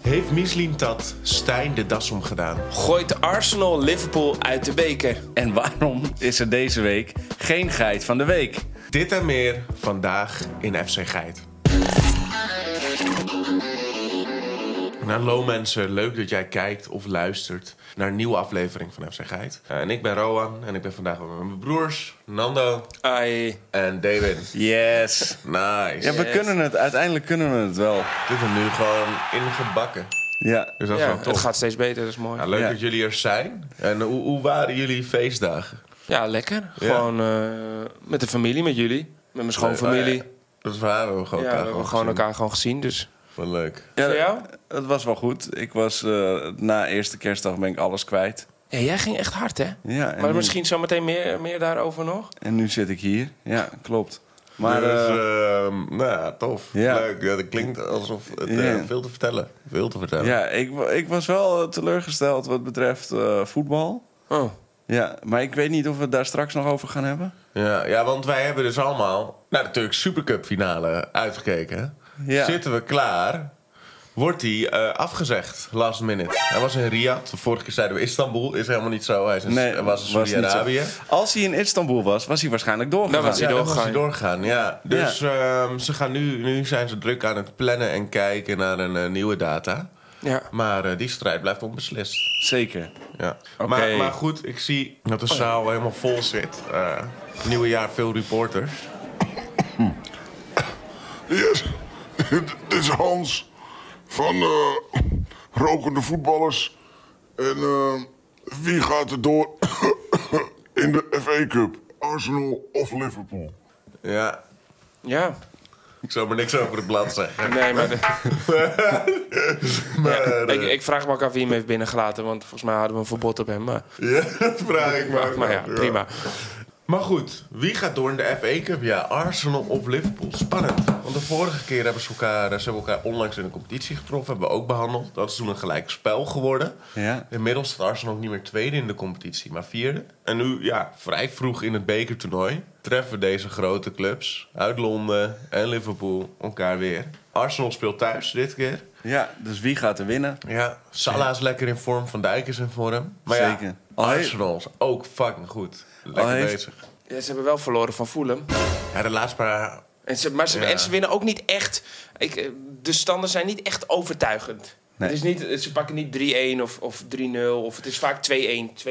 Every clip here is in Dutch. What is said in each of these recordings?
Heeft Mislim dat Stijn de das om gedaan? Gooit Arsenal Liverpool uit de beker. En waarom is er deze week geen geit van de week? Dit en meer vandaag in FC Geit. Nou, hallo mensen, leuk dat jij kijkt of luistert naar een nieuwe aflevering van FC Geit. Eh, en ik ben Rowan en ik ben vandaag weer met mijn broers Nando Ai. en David. Yes. Nice. Ja, we Yes. kunnen het. Uiteindelijk kunnen we het wel. Dit is nu gewoon ingebakken. Ja. Dus dat is Ja, wel tof. het gaat steeds beter, dat is mooi. Ja, Ja, leuk Ja. dat jullie er zijn. En hoe, hoe waren jullie feestdagen? lekker. Ja. Gewoon eh, met de familie, met jullie. Met mijn schoonfamilie. Eh, Dat waren we gewoon ja, we elkaar hebben gewoon gezien. elkaar gewoon gezien, dus... Wat leuk. ja Voor jou? Het was wel goed. Ik was eh, na eerste kerstdag ben ik alles kwijt. Ja, jij ging echt hard, hè? Ja, en, Maar nu, misschien zometeen meer, meer daarover nog. en nu zit ik hier. Ja, klopt. Maar dus, eh, ehm, nou ja, tof. ja. Leuk. Ja, dat klinkt alsof het eh, Ja. veel te vertellen. Veel te vertellen. ja, ik, wa- ik was wel eh, teleurgesteld wat betreft eh, voetbal. Oh. Ja, maar ik weet niet of we het daar straks nog over gaan hebben. Ja, ja, want wij hebben dus allemaal naar de Turks Supercup finale uitgekeken. Ja. Zitten we klaar? Wordt die eh, afgezegd, last minute. Hij was in Riyadh. De vorige keer zeiden we Istanbul. Is helemaal niet zo. Hij is in- hij Dus, eh, was in niet zo. Saudi-Arabië. Als hij in Istanbul was, was hij waarschijnlijk doorgegaan. Dan was hij Ja, dan was doorgegaan. hij doorgegaan, ja. Dus ehm, ze gaan nu, nu zijn ze druk aan het plannen en kijken naar een eh, nieuwe data. Ja. Maar eh, die strijd blijft onbeslist. Zeker. Ja. Oké. Maar, maar goed, ik zie dat de zaal helemaal vol zit. Eh nieuwe jaar veel reporters. Yes, dit dit is Hans van eh, Rokende Voetballers. En eh, wie gaat er door in de FA Cup? Arsenal of Liverpool? Ja, Ja. ik zou maar niks over het blad zeggen. Nee, maar... de- Maar, eh, ik, ik vraag me ook af wie hem heeft binnengelaten, want volgens mij hadden we een verbod op hem. Maar, ja, dat vraag ik me ook maar ja, af, prima. Maar goed, wie gaat door in de FA Cup? Ja, Arsenal of Liverpool? Spannend. Want de vorige keer hebben ze elkaar, ze hebben elkaar onlangs in de competitie getroffen. Hebben we ook behandeld. Dat is toen een gelijk spel geworden. Ja. Inmiddels staat Arsenal ook niet meer tweede in de competitie, maar vierde. En nu, ja, vrij vroeg in het bekertoernooi... treffen deze grote clubs uit Londen en Liverpool elkaar weer. Arsenal speelt thuis dit keer. Ja, dus wie gaat er winnen? Ja, Salah is lekker in vorm, Van Dijk is in vorm. Maar ja, Zeker. Al he- Arsenal is ook fucking goed. Al Lekker heeft- bezig. Ja, ze hebben wel verloren van Fulham. Ja, de laatste paar En ze, maar ze, Ja. en ze winnen ook niet echt. Ik, eh, de standen zijn niet echt overtuigend. Nee. Het is niet, ze pakken niet 3-1 of, of 3-0. Of het is vaak 2-1, 2-0.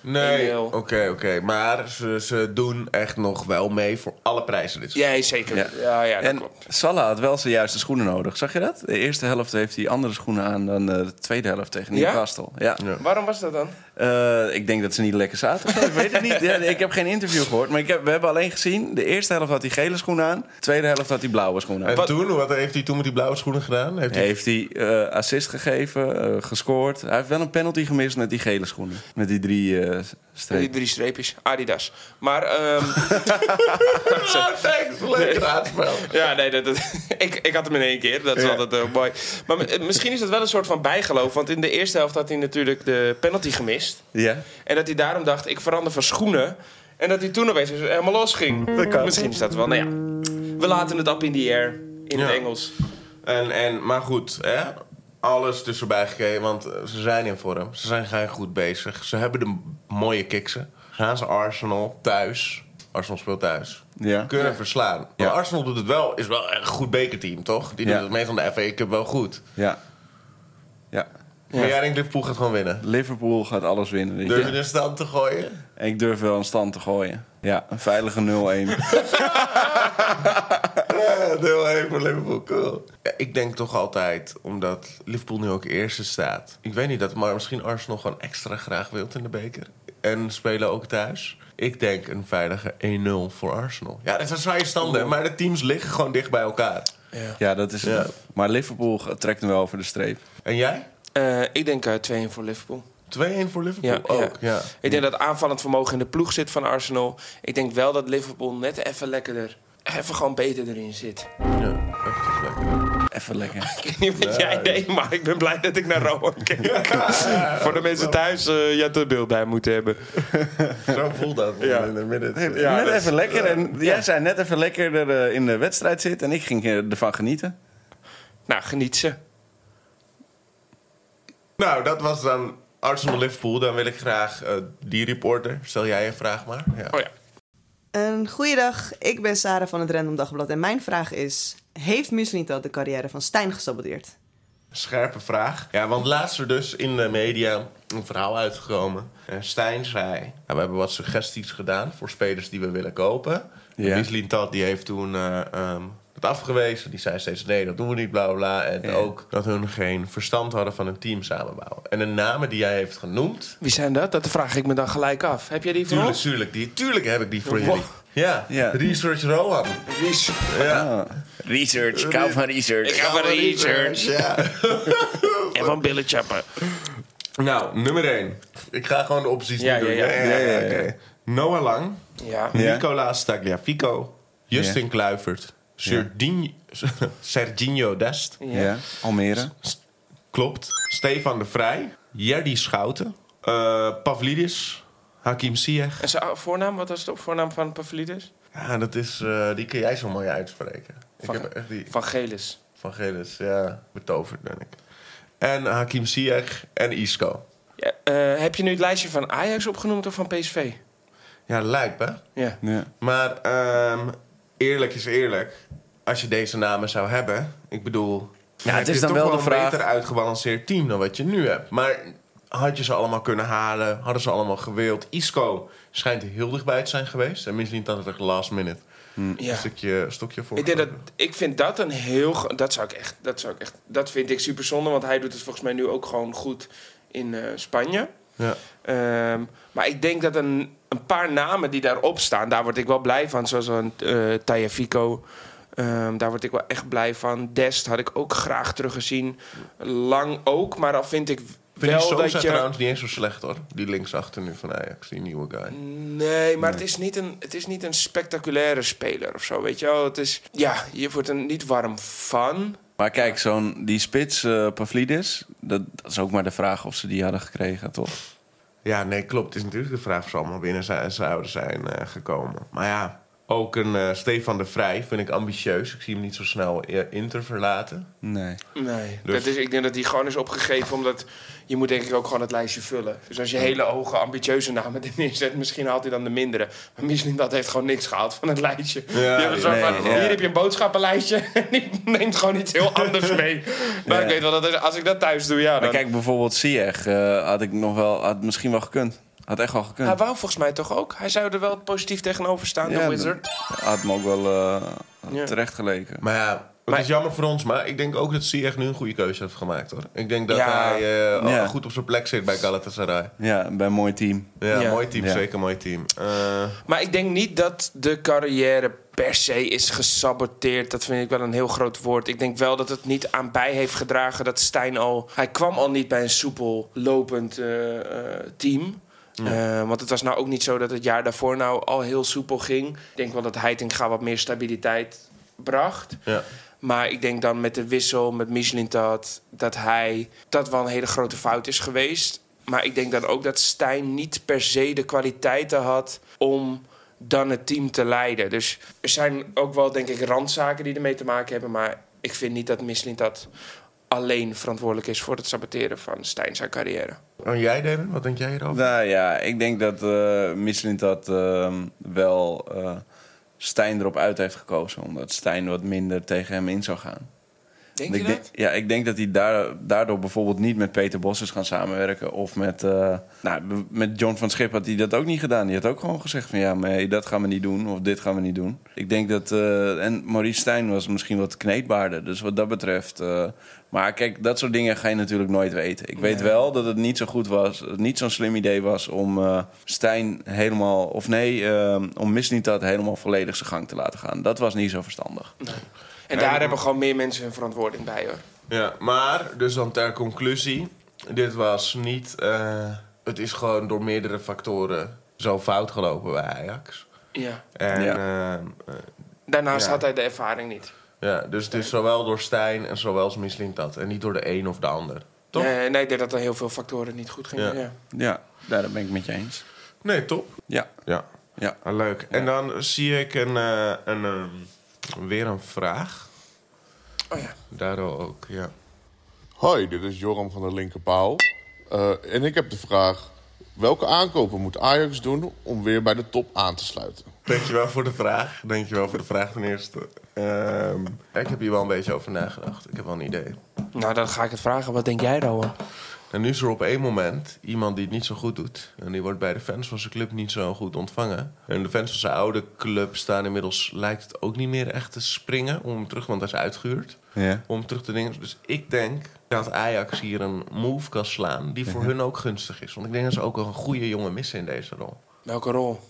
Nee, Oh. 1-0. oké, oké. Maar ze, ze doen echt nog wel mee voor alle prijzen dit Ja, zeker. Ja, Ja. ja, dat en klopt. Salah had wel zijn juiste schoenen nodig. Zag je dat? De eerste helft heeft hij andere schoenen aan dan de de tweede helft tegen Ja? Newcastle. Ja? Ja. Waarom was dat dan? Eh, ik denk dat ze niet lekker zaten. of zo. ik weet het niet. Ja, ik heb geen interview gehoord. Maar ik heb, we hebben alleen gezien, de eerste helft had hij gele schoenen aan. De tweede helft had hij blauwe schoenen En aan. Wat- toen, wat heeft hij toen met die blauwe schoenen gedaan? Heeft hij... Heeft hij eh, assist gegeven, eh, gescoord. Hij heeft wel een penalty gemist met die gele schoenen. Met die drie eh Die strepen. drie streepjes. Adidas. Maar, ehm, Ah, thanks, lekker raadspel. ja, nee, dat, dat- ik, ik had hem in één keer. Dat is Ja. altijd eh, mooi. Maar mi- eh, misschien is dat wel een soort van bijgeloof. Want in de eerste helft had hij natuurlijk de penalty gemist. Ja. En dat hij daarom dacht, ik verander van schoenen. En dat hij toen opeens helemaal los ging. Misschien is dat wel, nou ja. We laten het up in the air. In Ja. het Engels. En, en, maar goed, hè? alles dus erbij gekregen, want eh, ze zijn in vorm. Ze zijn graag goed bezig. Ze hebben de m- mooie kiksen. Gaan ze Arsenal thuis, Arsenal speelt thuis, Ja. kunnen verslaan. Maar Ja. Arsenal doet het wel, is wel een goed bekerteam, toch? Die Ja. doet het meestal in de FA Cup wel goed. Ja. Ja. Maar jij denkt Liverpool gaat gewoon winnen. Dus Liverpool gaat alles winnen. dit Durf jaar. je de stand te gooien? En Ik durf wel een stand te gooien. Ja, een veilige 0-1. Ja, deel 1 voor Liverpool, cool. Ja, ik denk toch altijd, omdat Liverpool nu ook eerste staat. Ik weet niet dat, maar misschien Arsenal gewoon extra graag wilt in de beker. En spelen ook thuis. Ik denk een veilige 1-0 voor Arsenal. Ja, dat zijn saaie standen, maar de teams liggen gewoon dicht bij elkaar. ja, dat is Ja. Maar Liverpool ge- trekt hem wel over de streep. En jij? Eh, ik denk eh 2-1 voor Liverpool. 2-1 voor Liverpool Ja, ook, ja. ja. Ik denk dat aanvallend vermogen in de ploeg zit van Arsenal. Ik denk wel dat Liverpool net even lekkerder, even gewoon beter erin zit. Ja, echt lekker. Even lekker. Ik weet niet wat dus- jij deed, maar ik ben blij dat ik naar Rowan keek. Voor de mensen thuis, eh je had er beeld bij moeten hebben. Zo voelt dat Ja. in de midden. net even lekker. En jij zei net even lekkerder eh, in de wedstrijd zit. En ik ging eh, ervan genieten. Nou, geniet ze. Nou, dat was dan Arsenal Liverpool. Dan wil ik graag eh, die reporter. Stel jij een vraag maar. Ja. Oh ja. Een goeiedag, ik ben Sarah van het Random Dagblad en mijn vraag is... Heeft Muslintat de carrière van Stijn gesaboteerd? Scherpe vraag. Ja, want laatst er dus in de media een verhaal uitgekomen. En Stijn zei... Nou, we hebben wat suggesties gedaan voor spelers die we willen kopen. Ja. Ja. Tad die heeft toen eh, ehm, het afgewezen. Die zei steeds nee, dat doen we niet, bla bla bla. En ook dat hun geen verstand hadden van een team samenbouwen. En de namen die jij heeft genoemd... Wie zijn dat? Dat vraag ik me dan gelijk af. Heb jij die voor Tuurlijk, ons? tuurlijk, die, tuurlijk heb ik die voor Wow. jullie. Ja, Ja. Research Rohan. Ah. Research, kou van research. Ik ga maar research. Ja. En van billen chappen. Nou, nummer 1. Ik ga gewoon de opties Ja, nu doen. ja, ja. Ja, ja, ja. oké. Noah Lang, Ja. Ja. Nicolaas Tagliafico, Justin Kluivert, Serginho, Serginho Dest, Ja, Almere. klopt, Stefan de Vrij, Jerdy Schouten, eh, Pavlidis, Hakim Ziyech. En zijn voornaam, wat was de voornaam van Pavlidis? Ja, dat is, eh, die kun jij zo mooi uitspreken. Van- ik heb echt die Van Gelis. van Gelis, ja, betoverd ben ik. En Hakim Ziyech en Isco. Ja, eh, heb je nu het lijstje van Ajax opgenoemd of van PSV? Ja, lijp hè? Ja. Ja. Maar ehm, eerlijk is eerlijk. Als je deze namen zou hebben, ik bedoel. Ja, heb het is je dan toch wel de een vraag- beter uitgebalanceerd team dan wat je nu hebt. Maar had je ze allemaal kunnen halen? Hadden ze allemaal gewild? Isco schijnt er heel dichtbij te zijn geweest. En misschien dat het echt last minute ja. Hmm. een stukje, stukje voor. Ik, denk dat, ik vind dat een heel. gro- Dat zou ik echt. Dat, zou ik echt, dat vind ik super zonde, want hij doet het volgens mij nu ook gewoon goed in eh, Spanje. Ja. Ehm, maar ik denk dat een, een paar namen die daarop staan, daar word ik wel blij van. Zoals een eh Tajafico. Ehm, daar word ik wel echt blij van. Dest had ik ook graag teruggezien. Lang ook, maar al vind ik Vind wel die Sosa dat je... trouwens niet eens zo slecht hoor. Die linksachter nu van Ajax, die nieuwe guy. Nee, maar Het, is niet een, het is niet een spectaculaire speler of zo, weet je wel. Het is, ja, je wordt er niet warm van. Maar kijk, zo'n, die spits eh Pavlidis, dat, dat is ook maar de vraag of ze die hadden gekregen, toch? Ja, nee, klopt. Het is natuurlijk de vraag of ze allemaal binnen zijn, zouden zijn eh, gekomen. Maar ja, ook een eh, Stefan de Vrij vind ik ambitieus. Ik zie hem niet zo snel eh, Inter verlaten. Nee. Nee. Dus- Dat is, ik denk dat die gewoon is opgegeven, omdat je moet denk ik ook gewoon het lijstje vullen. Dus als je hele hoge, ambitieuze namen erin neerzet, misschien haalt hij dan de mindere. Maar misschien dat heeft gewoon niks gehaald van het lijstje. Die hebben zo nee, van, ja. Hier heb je een boodschappenlijstje en die neemt gewoon iets heel anders mee. Maar Ja. ik weet wel, dat is- als ik dat thuis doe, ja, Maar dan... kijk, bijvoorbeeld Ziyech eh, had ik nog wel, had misschien wel gekund. Had echt wel gekund. hij wou volgens mij toch ook? Hij zou er wel positief tegenover staan, eh, Ja, de Wizard. Had me ook wel eh, Ja. terecht geleken. Maar ja, het Maar- is jammer voor ons. Maar ik denk ook dat Ziyech nu een goede keuze heeft gemaakt, hoor. Ik denk dat Ja. hij eh, al Ja. goed op zijn plek zit bij Galatasaray. Ja, bij een mooi team. Ja, Ja. mooi team. Ja. Zeker mooi team. Eh, Maar ik denk niet dat de carrière per se is gesaboteerd. Dat vind ik wel een heel groot woord. Ik denk wel dat het niet aan bij heeft gedragen dat Stijn al... Hij kwam al niet bij een soepel lopend eh, eh, team. Eh, want het was nou ook niet zo dat het jaar daarvoor nou al heel soepel ging. Ik denk wel dat Heitinga wat meer stabiliteit bracht. ja. Maar ik denk dan met de wissel, met Michelin-Tat, dat hij dat wel een hele grote fout is geweest. Maar ik denk dan ook dat Stijn niet per se de kwaliteiten had om dan het team te leiden. Dus er zijn ook wel, denk ik, randzaken die ermee te maken hebben. Maar ik vind niet dat Michelin-Tat alleen verantwoordelijk is voor het saboteren van Stijn zijn carrière. En oh, jij, David? Wat denk jij hierover? Nou ja, ik denk dat eh Michelin dat ehm, wel eh, Stijn erop uit heeft gekozen. Omdat Stijn wat minder tegen hem in zou gaan. Denk je ik dat? denk- ja, ik denk dat hij daar, daardoor bijvoorbeeld niet met Peter Bos is gaan samenwerken. Of met, eh, nou, b- met John van Schip had hij dat ook niet gedaan. Die had ook gewoon gezegd van ja, maar hey, dat gaan we niet doen. Of dit gaan we niet doen. Ik denk dat... eh, en Maurice Stijn was misschien wat kneedbaarder. Dus wat dat betreft... eh, maar kijk, dat soort dingen ga je natuurlijk nooit weten. Ik weet wel dat het niet zo goed was, dat het niet zo'n slim idee was om eh, Stijn helemaal, of nee, eh, om Misniet dat helemaal volledig zijn gang te laten gaan. Dat was niet zo verstandig. En daar hebben gewoon meer mensen hun verantwoording bij, hoor. Ja, maar, dus dan ter conclusie. Dit was niet... eh, het is gewoon door meerdere factoren zo fout gelopen bij Ajax. Ja. En Ja. ehm, eh, Daarnaast Ja. had hij de ervaring niet. ja, dus het is zowel door Stijn en zowel als Misling dat. En niet door de een of de ander. Toch? Nee, nee, ik denk dat er heel veel factoren niet goed gingen. Ja. Ja. Ja, daar ben ik met je eens. Nee, top. Ja. Ja, Ja. ah, leuk. En dan zie ik een, eh, een, ehm, weer een vraag. Oh ja. Daardoor ook, ja. Hoi, dit is Joram van de Linkerpaal. Eh, en ik heb de vraag... Welke aankopen moet Ajax doen om weer bij de top aan te sluiten? Dankjewel voor de vraag. Dankjewel voor de vraag ten eerste. Ehm, ik heb hier wel een beetje over nagedacht. Ik heb wel een idee. Nou, dan ga ik het vragen. Wat denk jij, Rowan? En nu is er op één moment iemand die het niet zo goed doet. En die wordt bij de fans van zijn club niet zo goed ontvangen. En de fans van zijn oude club staan inmiddels, lijkt het ook niet meer echt te springen om hem terug, want hij is uitgehuurd. Ja. Om terug te dingen. Dus ik denk dat Ajax hier een move kan slaan die voor hun ook gunstig is. Want ik denk dat ze ook een goede jongen missen in deze rol. Welke rol?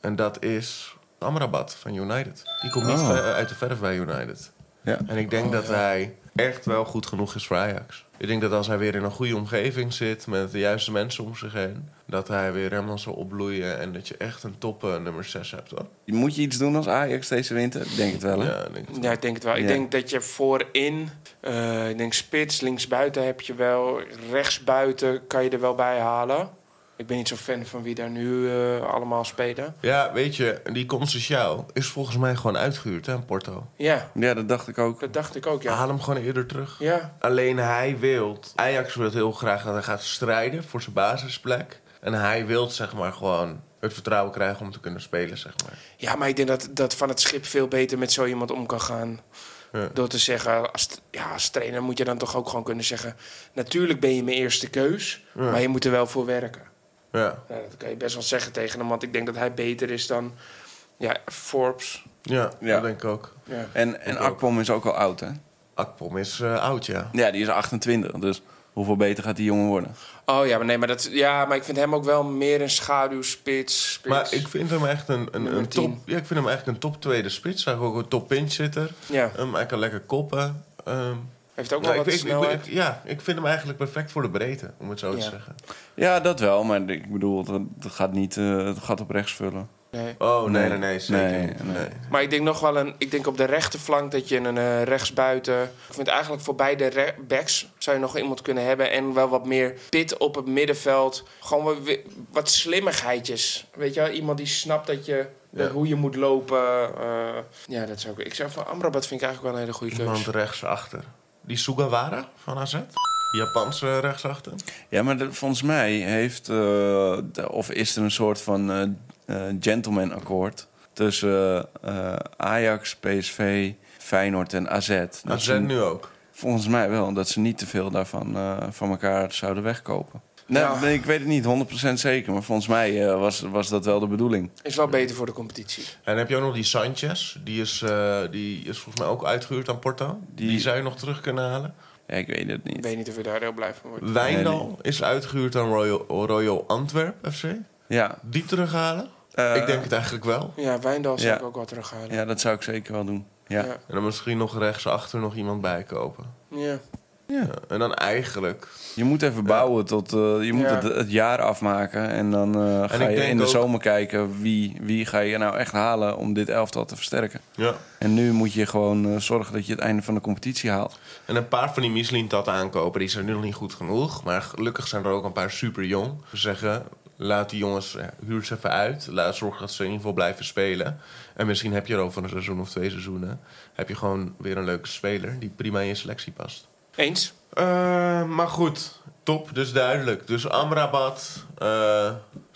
En dat is Amrabat van United. Die komt niet Oh. ver- uit de verf bij United. Ja. En ik denk dat hij echt wel goed genoeg is voor Ajax. Ik denk dat als hij weer in een goede omgeving zit met de juiste mensen om zich heen, dat hij weer helemaal zal opbloeien en dat je echt een top eh, nummer 6 hebt. Hoor. Moet je iets doen als Ajax deze winter? Ik denk het wel, hè? Ja, ik denk het. Ja, ik denk het wel. Ik Ja. denk dat je voorin, eh, ik denk spits, linksbuiten heb je wel, rechtsbuiten kan je er wel bij halen. Ik ben niet zo fan van wie daar nu eh, allemaal spelen. ja, weet je, die Conceicao is volgens mij gewoon uitgehuurd hè, aan Porto. Ja, Ja, dat dacht ik ook. dat dacht ik ook, ja. Haal hem gewoon eerder terug. Ja, Alleen hij wil, Ajax wil heel graag dat hij gaat strijden voor zijn basisplek. En hij wil zeg maar gewoon het vertrouwen krijgen om te kunnen spelen, zeg maar. ja maar ik denk dat, dat van het schip veel beter met zo iemand om kan gaan. Ja. Door te zeggen, als, t- ja, als trainer moet je dan toch ook gewoon kunnen zeggen... natuurlijk ben je mijn eerste keus, maar je moet er wel voor werken. Ja, Nou, dat kan je best wel zeggen tegen hem, want ik denk dat hij beter is dan ja, Forbes. ja, Ja. dat denk ik ook. Ja. En, en Akpom is ook al oud, hè? Akpom is eh, oud, ja. Ja, die is 28. Dus hoeveel beter gaat die jongen worden? Oh ja, maar nee, maar dat, ja, maar ik vind hem ook wel meer een schaduwspits. spits. Maar ik vind hem echt een, een, Nummer een top... 10. Ja, ik vind hem eigenlijk een top tweede spits. Eigenlijk ook een top pinchhitter. Ja. Ehm, hij kan lekker koppen. Ehm, heeft ook nou, wel ik, wat ik- ik, snelheid. ik- ja, ik vind hem eigenlijk perfect voor de breedte, om het zo te Ja. zeggen. Ja, dat wel. Maar ik bedoel, dat, dat gaat niet eh, het gat op rechts vullen. nee. Oh, nee, Nee. nee, nee, zeker Nee, niet. nee. Nee. Maar ik denk nog wel een. Ik denk op de rechterflank dat je een eh, rechtsbuiten. Ik vind eigenlijk voor beide re- backs zou je nog iemand kunnen hebben. En wel wat meer pit op het middenveld. Gewoon wat, wi- wat slimmigheidjes. Weet je wel, iemand die snapt dat je. dat Ja. Hoe je moet lopen. eh, ja, dat zou ik. Ik zou van Amrabat vind ik eigenlijk wel een hele goede Iemand keus. rechtsachter. Die Sugawara van AZ? Japanse rechtsachter? Ja, maar dat- volgens mij heeft... eh, of is er een soort van eh, eh, gentleman-akkoord... tussen eh, eh, Ajax, PSV, Feyenoord en AZ. Dat AZ ze- nu ook. Volgens mij wel, dat ze niet te veel daarvan eh, van elkaar zouden wegkopen. Nou, Ja. nee, ik weet het niet 100% zeker, maar volgens mij eh, was, was dat wel de bedoeling. Is wel beter voor de competitie. En heb je ook nog die Sanchez? Die is, eh, die is volgens mij ook uitgehuurd aan Porto. Die... Die zou je nog terug kunnen halen. Ja, ik weet het Ik niet. weet niet of je daar heel blij van wordt. Wijndal nee. is uitgehuurd aan Royal, Royal Antwerp FC. Ja, Die terughalen? Eh, Ik denk het eigenlijk wel. Ja, Wijndal zou Ja. ik ook wel terughalen. ja, dat zou ik zeker wel doen. Ja. Ja. En dan misschien nog rechtsachter nog iemand bijkopen. Ja. Ja. En dan eigenlijk... Je moet even bouwen tot... eh, je moet Ja. het, het jaar afmaken en dan eh, ga ik je denk in de ook- zomer kijken... Wie, wie ga je nou echt halen om dit elftal te versterken. Ja. En nu moet je gewoon eh, zorgen dat je het einde van de competitie haalt. En een paar van die Michelin-tat aankopen, die zijn nu nog niet goed genoeg. Maar gelukkig zijn er ook een paar super jong. Ze zeggen, laat die jongens, eh, huur ze even uit. Laat zorgen dat ze in ieder geval blijven spelen. En misschien heb je er over een seizoen of twee seizoenen... heb je gewoon weer een leuke speler die prima in je selectie past. Eens? Eh, maar goed, top, dus duidelijk. Dus Amrabat, eh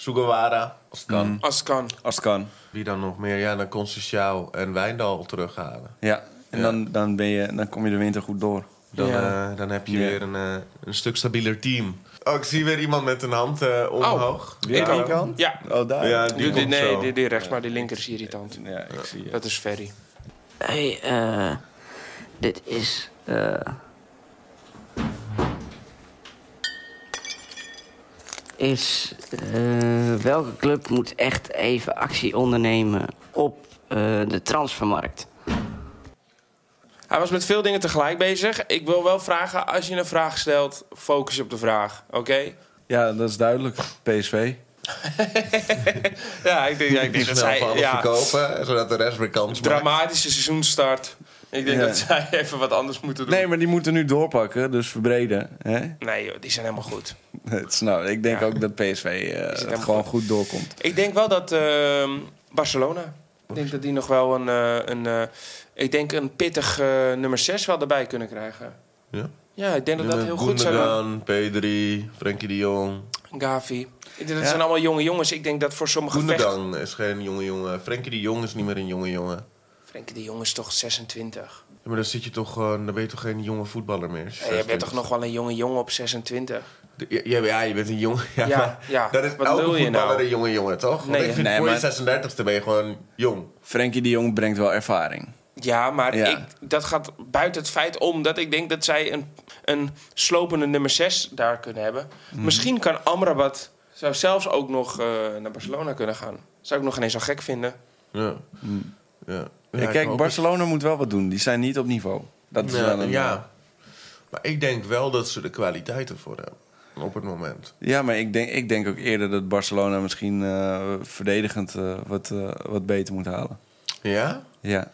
Sugawara, als het Mm. kan. Als het kan. Als het kan. Wie dan nog meer? Ja, dan Concecao en Wijndal terughalen. Ja. En Ja. Dan, dan, ben je, dan kom je de winter goed door. Dan, Ja. eh, dan heb je Ja. weer een, eh, een stuk stabieler team. Oh, ik zie weer iemand met een hand eh, omhoog. Weer Ja. die kant? Ja. Oh, daar. Ja, Die, die die- komt nee, zo. die, die rechts, maar die linker is irritant. Ja, ik zie eh. het. Dat is Ferry. Hey, eh, dit is. eh is. eh, welke club moet echt even actie ondernemen op eh, de transfermarkt? Hij was met veel dingen tegelijk bezig. Ik wil wel vragen, als je een vraag stelt, focus je op de vraag. Oké? Ja, dat is duidelijk. PSV. Ja, ik denk, ja, ik denk Snel dat zij... van alles ja, verkopen, dus zodat de rest weer kans maakt. dramatische seizoenstart. Ik denk Ja. dat zij even wat anders moeten doen. Nee, maar die moeten nu doorpakken, dus verbreden. Hè? Nee, joh, die zijn helemaal goed. Het is nou, ik denk Ja. ook dat PSV eh, het helemaal gewoon goed doorkomt. Ik denk wel dat ehm, Barcelona. Ik denk dat die nog wel een, eh, een eh, ik denk een pittig eh, nummer 6 wel erbij kunnen krijgen. Ja. Ja, ik denk dat dat heel goed zou zijn. Gundogan, Pedri, Frenkie de Jong. Gavi. Ik denk Dat zijn allemaal jonge jongens. Ik denk dat voor sommige vechten... Gundogan is geen jonge jongen. Frenkie de Jong is niet meer een jonge jongen. Frenkie de Jong is toch 26? Ja, maar dan, zit je toch, eh, dan ben je toch geen jonge voetballer meer? als je Ja, jij bent 26 toch nog wel een jonge jongen op 26? De- Ja, ja, ja, je bent een jongen. Ja, Ja, maar ja. Dat is Wat elke wil je voetballer nou? een jonge jongen, toch? Want Nee, ik vind nee, voor maar- je 36e ben je gewoon jong. Frenkie de Jong brengt wel ervaring. Ja, maar Ja. Ik, dat gaat buiten het feit om dat ik denk dat zij een, een slopende nummer 6 daar kunnen hebben. Misschien kan Amrabat zou zelfs ook nog eh, naar Barcelona kunnen gaan. Zou ik nog ineens zo gek vinden. Ja. Ja. Ja, Ja, ik kijk, hoop Barcelona moet wel wat doen. Die zijn niet op niveau. Dat het. is Ja, wel een, eh, ja. Maar ik denk wel dat ze de kwaliteiten voor hebben. Op het moment. Ja, maar ik denk, ik denk ook eerder dat Barcelona misschien eh, verdedigend eh, wat, eh, wat beter moet halen. Ja? Ja.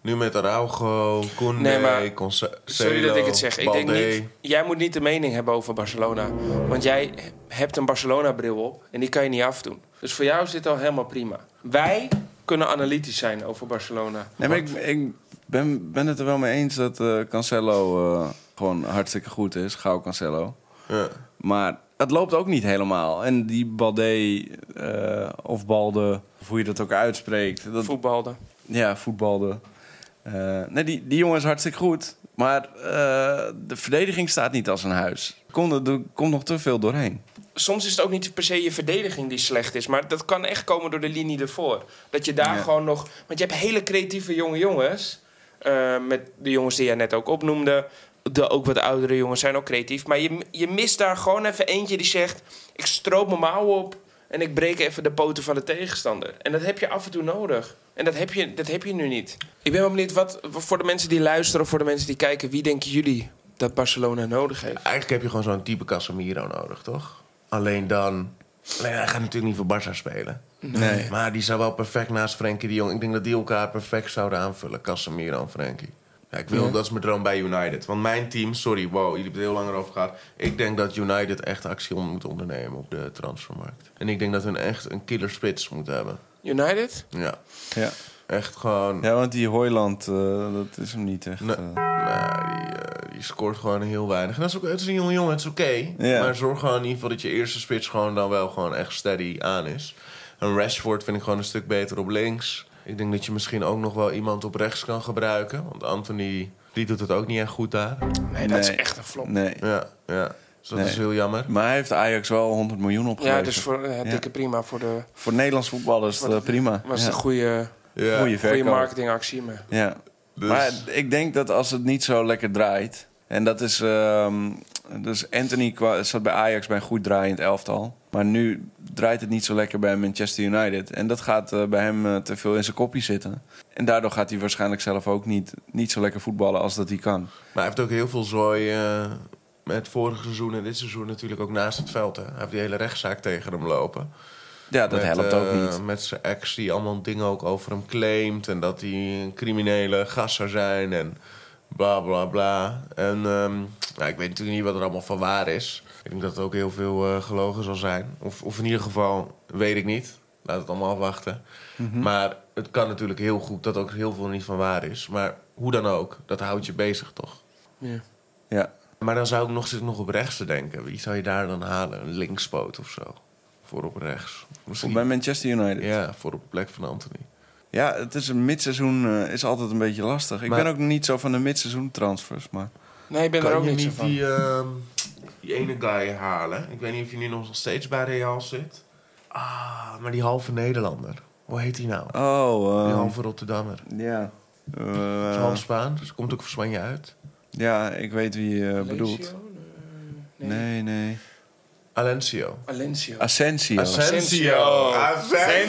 Nu met Araujo, Koundé, Nee, maar- Conce- Sorry dat ik het zeg. Ik denk Balde. niet, jij moet niet de mening hebben over Barcelona. Want jij hebt een Barcelona-bril op en die kan je niet afdoen. Dus voor jou is dit al helemaal prima. Wij kunnen analytisch zijn over Barcelona. Nee, maar ik, ik ben, ben het er wel mee eens dat eh, Cancelo eh, gewoon hartstikke goed is. Gauw Cancelo. Ja. Maar het loopt ook niet helemaal. En die Balde eh, of Balde, of hoe je dat ook uitspreekt. Dat, Voetbalde. ja, voetbalde. Eh, nee, die, die jongen is hartstikke goed. Maar eh, de verdediging staat niet als een huis. Komt er er komt nog te veel doorheen. soms is het ook niet per se je verdediging die slecht is. Maar dat kan echt komen door de linie ervoor. Dat je daar gewoon nog. Want je hebt hele creatieve jonge jongens. eh, met de jongens die jij net ook opnoemde. De ook wat oudere jongens zijn ook creatief. Maar je, je mist daar gewoon even eentje die zegt: Ik stroop mijn mouwen op. En ik breek even de poten van de tegenstander. En dat heb je af en toe nodig. En dat heb je, dat heb je nu niet. Ik ben wel benieuwd, wat, voor de mensen die luisteren... of voor de mensen die kijken... wie denken jullie dat Barcelona nodig heeft? Eigenlijk heb je gewoon zo'n type Casemiro nodig, toch? Alleen dan... Nee, hij gaat natuurlijk niet voor Barça spelen. Nee. Maar die zou wel perfect naast Frenkie de Jong. Ik denk dat die elkaar perfect zouden aanvullen. Casemiro en Frenkie. Ja, ik wil, dat is mijn droom bij United. Want mijn team, sorry, wow, jullie hebben het heel lang over gehad. Ik denk dat United echt actie on- moet ondernemen op de transfermarkt. En ik denk dat hun echt een killer spits moeten hebben. United? Ja, Ja, echt gewoon... ja want die Hoyland, eh, dat is hem niet echt. Nee. eh. Nou, die, eh, die scoort gewoon heel weinig. En dat is ook, het is een jonge jongen, het is oké. Ja. Maar zorg gewoon in ieder geval dat je eerste spits gewoon dan wel gewoon echt steady aan is. Een Rashford vind ik gewoon een stuk beter op links. Ik denk dat je misschien ook nog wel iemand op rechts kan gebruiken. Want Anthony, die doet het ook niet echt goed daar. Nee, dat is Nee. echt een flop. nee. Ja, ja. Dus dat Nee. is heel jammer. Maar hij heeft Ajax wel 100 miljoen Ja, opgeleverd. dus voor eh, Ja. dikke prima. Voor de, Voor Nederlands voetbal is het eh, prima. was ja. het een goede, Ja. Goeie goede verkoop. marketingactie. Maar. Ja. Dus- Maar ik denk dat als het niet zo lekker draait... En dat is... ehm, dus Anthony kwa- zat bij Ajax bij een goed draaiend elftal. Maar nu draait het niet zo lekker bij Manchester United. En dat gaat eh, bij hem eh, te veel in zijn kopje zitten. En daardoor gaat hij waarschijnlijk zelf ook niet, niet zo lekker voetballen als dat hij kan. Maar hij heeft ook heel veel zooi eh, met vorig seizoen en dit seizoen natuurlijk ook naast het veld. Hè. Hij heeft die hele rechtszaak tegen hem lopen. Ja, dat Met, helpt ook eh, niet. Met zijn ex die allemaal dingen ook over hem claimt. En dat hij een criminele gast zou zijn. En bla bla bla. En ehm, nou, ik weet natuurlijk niet wat er allemaal van waar is. Ik denk dat het ook heel veel eh, gelogen zal zijn. Of, of in ieder geval, weet ik niet. Laat het allemaal afwachten. Mhm. Maar het kan natuurlijk heel goed dat ook heel veel niet van waar is. Maar hoe dan ook, dat houdt je bezig toch? Ja. Ja. Maar dan zou ik nog, zit ik nog op rechts te denken. Wie zou je daar dan halen? Een linkspoot of zo? Voor op rechts. Of bij Manchester United. Ja, voor op de plek van Anthony. Ja, het is een midseizoen eh, is altijd een beetje lastig. Ik Maar- ben ook niet zo van de midseizoen transfers, maar Nee, ik ben er kan ook je niet zo niet van. die, ehm, die ene guy halen? Ik weet niet of hij nu nog steeds bij Real zit. Ah, maar die halve Nederlander. Hoe heet hij nou? oh, Die eh, halve Rotterdammer. ja, Dat Eh, is half Spaans. Komt ook voor Spanje uit. ja, ik weet wie je eh, bedoelt. Lazio? Nee. Nee, nee. Alencio. Valencia. Asensio. Asensio. Ah,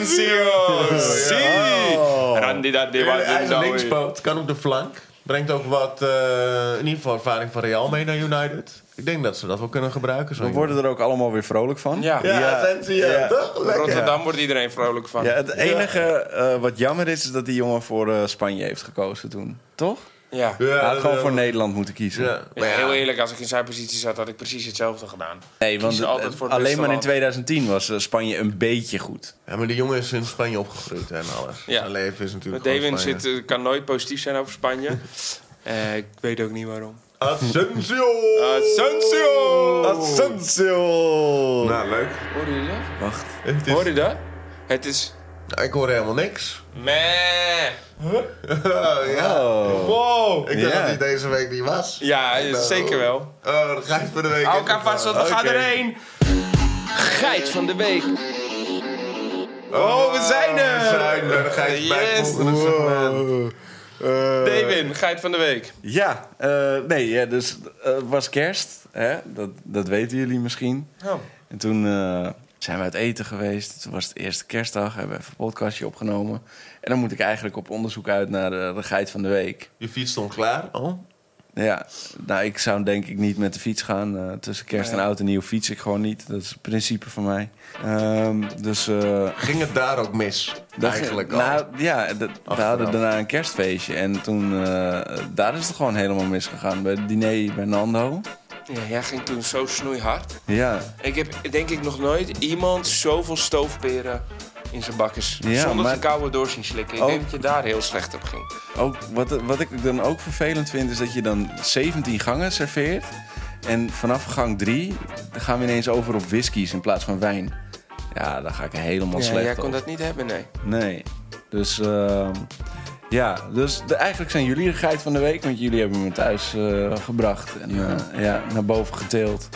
Asensio. Randy dat die Hij was is in een nou linkspoot, kan op de flank. Brengt ook wat, eh, in ieder geval ervaring van Real mee naar United. Ik denk dat ze dat wel kunnen gebruiken. Zo We worden er ook allemaal weer vrolijk van. Ja. ja, Ja, Asensio, ja. toch? Lekker. Rotterdam wordt iedereen vrolijk van. Ja, het enige eh, wat jammer is, is dat die jongen voor eh, Spanje heeft gekozen toen. Toch? Ja. Ja, Hij had dat gewoon wel. voor Nederland moeten kiezen. Ja, Ja, heel eerlijk, als ik in zijn positie zat, had ik precies hetzelfde gedaan. Nee, want Kiezen altijd het- voor het alleen beste maar in land. 2010 was eh, Spanje een beetje goed. Ja, maar die jongen is in Spanje opgegroeid en alles. Ja. Zijn leven is natuurlijk Met gewoon Devin Spanje. zit, eh, kan nooit positief zijn over Spanje. Eh, ik weet ook niet waarom. Asensio! Asensio! Asensio! Nou, leuk. Hoorde je dat? Wacht. Het is- Hoorde je dat? Het is... Nou, ik hoor helemaal niks. Meh. ja. Oh. Wow. Ik dacht Ja. dat hij deze week niet was. Ja, Nou. zeker wel. Oh, dan ga ik eh, voor de week. Hou even elkaar vast, want we gaan Oké. erheen. Geit van de week. Oh, Oh, we zijn er! We zijn er. Dan ga ik bij het Yes. volgende Oh. segment. David, geit van de week. Ja, eh, nee, ja, dus eh, het was kerst. Hè? Dat, dat weten jullie misschien. Oh. En toen eh, zijn we uit eten geweest. Toen was het eerste kerstdag. Hebben we even een podcastje opgenomen. En dan moet ik eigenlijk op onderzoek uit naar de, de geit van de week. Je fiets stond klaar. Oh. Ja, nou, ik zou denk ik niet met de fiets gaan. Eh, tussen kerst en oud en nieuw fiets ik gewoon niet. Dat is het principe van mij. Ehm, dus eh, Ging het daar ook mis? dat- eigenlijk al. nou, ja, dat- we hadden daarna een kerstfeestje. En toen, eh, daar is het gewoon helemaal misgegaan. Bij het diner bij Nando. Ja, jij ging toen zo snoeihard. Ja, Ik heb denk ik nog nooit iemand zoveel stoofperen in zijn bakkers. Ja, zonder maar- te koude door zien slikken. Ik Oh. denk dat je daar heel slecht op ging. ook, wat, wat ik dan ook vervelend vind, is dat je dan 17 gangen serveert. En vanaf gang 3 gaan we ineens over op whiskies in plaats van wijn. Ja, daar ga ik helemaal Ja, slecht jij op. kon dat niet hebben, nee. Nee. Dus ehm, ja, dus de- eigenlijk zijn jullie de geit van de week, want jullie hebben me thuis eh, gebracht en eh, ja, naar boven geteeld.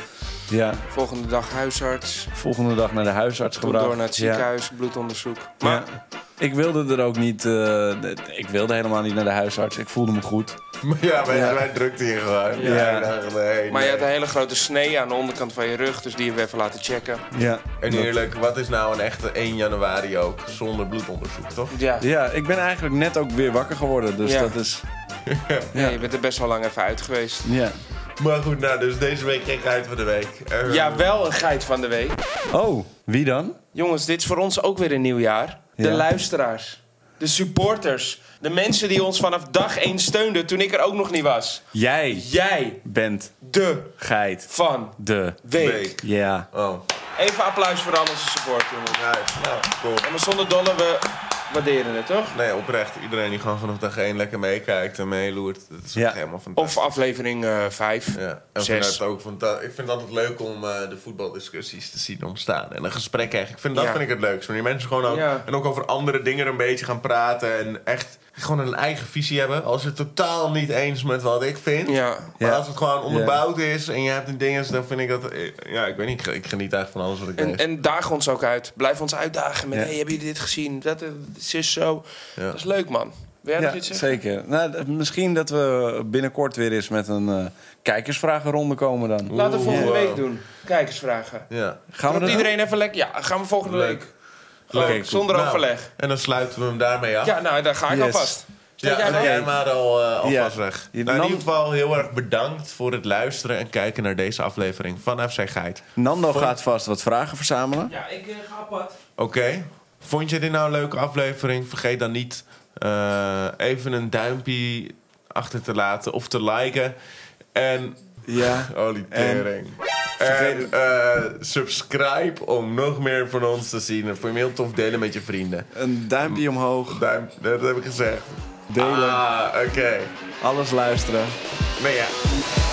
Ja, Volgende dag huisarts. volgende dag naar de huisarts Toen gebracht. door naar het Ja. ziekenhuis, bloedonderzoek. Maar Maar ik wilde er ook niet, eh, de- ik wilde helemaal niet naar de huisarts. Ik voelde me goed. Maar ja, wij, Ja. wij drukten hier gewoon. Ja. Ja. Nee, Maar je nee. had een hele grote snee aan de onderkant van je rug, dus die hebben we even laten checken. Ja. En eerlijk, wat is nou een echte 1 januari ook zonder bloedonderzoek, toch? Ja, Ja, ik ben eigenlijk net ook weer wakker geworden, dus Ja. dat is... Nee, je bent er best wel lang even uit geweest. Ja. Maar goed, nou, dus deze week geen geit van de week. Eh, Ja, wel een geit van de week. Oh, wie dan? Jongens, dit is voor ons ook weer een nieuw jaar. De Ja. luisteraars, de supporters, de mensen die ons vanaf dag één steunden toen ik er ook nog niet was. Jij Jij, bent de geit van de... week. Week. Ja. Oh, Even applaus voor al onze support, jongens. nice. Nou, cool. En maar zonder dolle, we waarderen het, toch? Nee, oprecht. Iedereen die gewoon vanaf dag 1 lekker meekijkt en meeloert. Dat is Ja. echt helemaal fantastisch. Of aflevering eh, 5. Ja, en Zes. vanuit ook van ik vind het altijd leuk om eh, de voetbaldiscussies te zien ontstaan. En een gesprek eigenlijk. Ik vind, dat Ja. vind ik het leukst. Wanneer mensen gewoon ook, Ja. en ook over andere dingen een beetje gaan praten. En echt gewoon een eigen visie hebben. Als ze het totaal niet eens met wat ik vind. Ja. Maar Ja. als het gewoon onderbouwd is en je hebt een ding, dan vind ik dat... eh, Ja, ik weet niet. Ik, ik geniet eigenlijk van alles wat ik En, lees. en daag ons ook uit. Blijf ons uitdagen met... Ja. hey, hebben jullie dit gezien? Dat eh, het is zo. Ja. Dat is leuk, man. Wil jij nog Ja, iets zeggen? zeker. Nou, d- misschien dat we binnenkort weer eens met een eh, kijkersvragenronde komen dan. Laten we volgende Oeh. week doen. Kijkersvragen. Ja. Gaan we Roept dat iedereen even lekker... Ja, gaan we volgende Leuk. week. Gewoon Oké, cool. zonder Nou, overleg. En dan sluiten we hem daarmee af. Ja, nou, daar ga ik Yes. alvast. Ja, Steek jij dan hem jij op? maar al, eh, alvast Ja. weg. Je Nou, in nam- ieder geval heel erg bedankt voor het luisteren en kijken naar deze aflevering van FC Geit. Nando gaat vast wat vragen verzamelen. Ja, ik eh, ga apart. Oké, vond je dit nou een leuke aflevering? Vergeet dan niet eh, even een duimpje achter te laten of te liken. En, Ja. oh die tering. En, eh, subscribe om nog meer van ons te zien. En voor je heel tof delen met je vrienden. Een duimpje omhoog. Duim, dat heb ik gezegd. Delen. Ah, oké. Alles luisteren. Nou ja.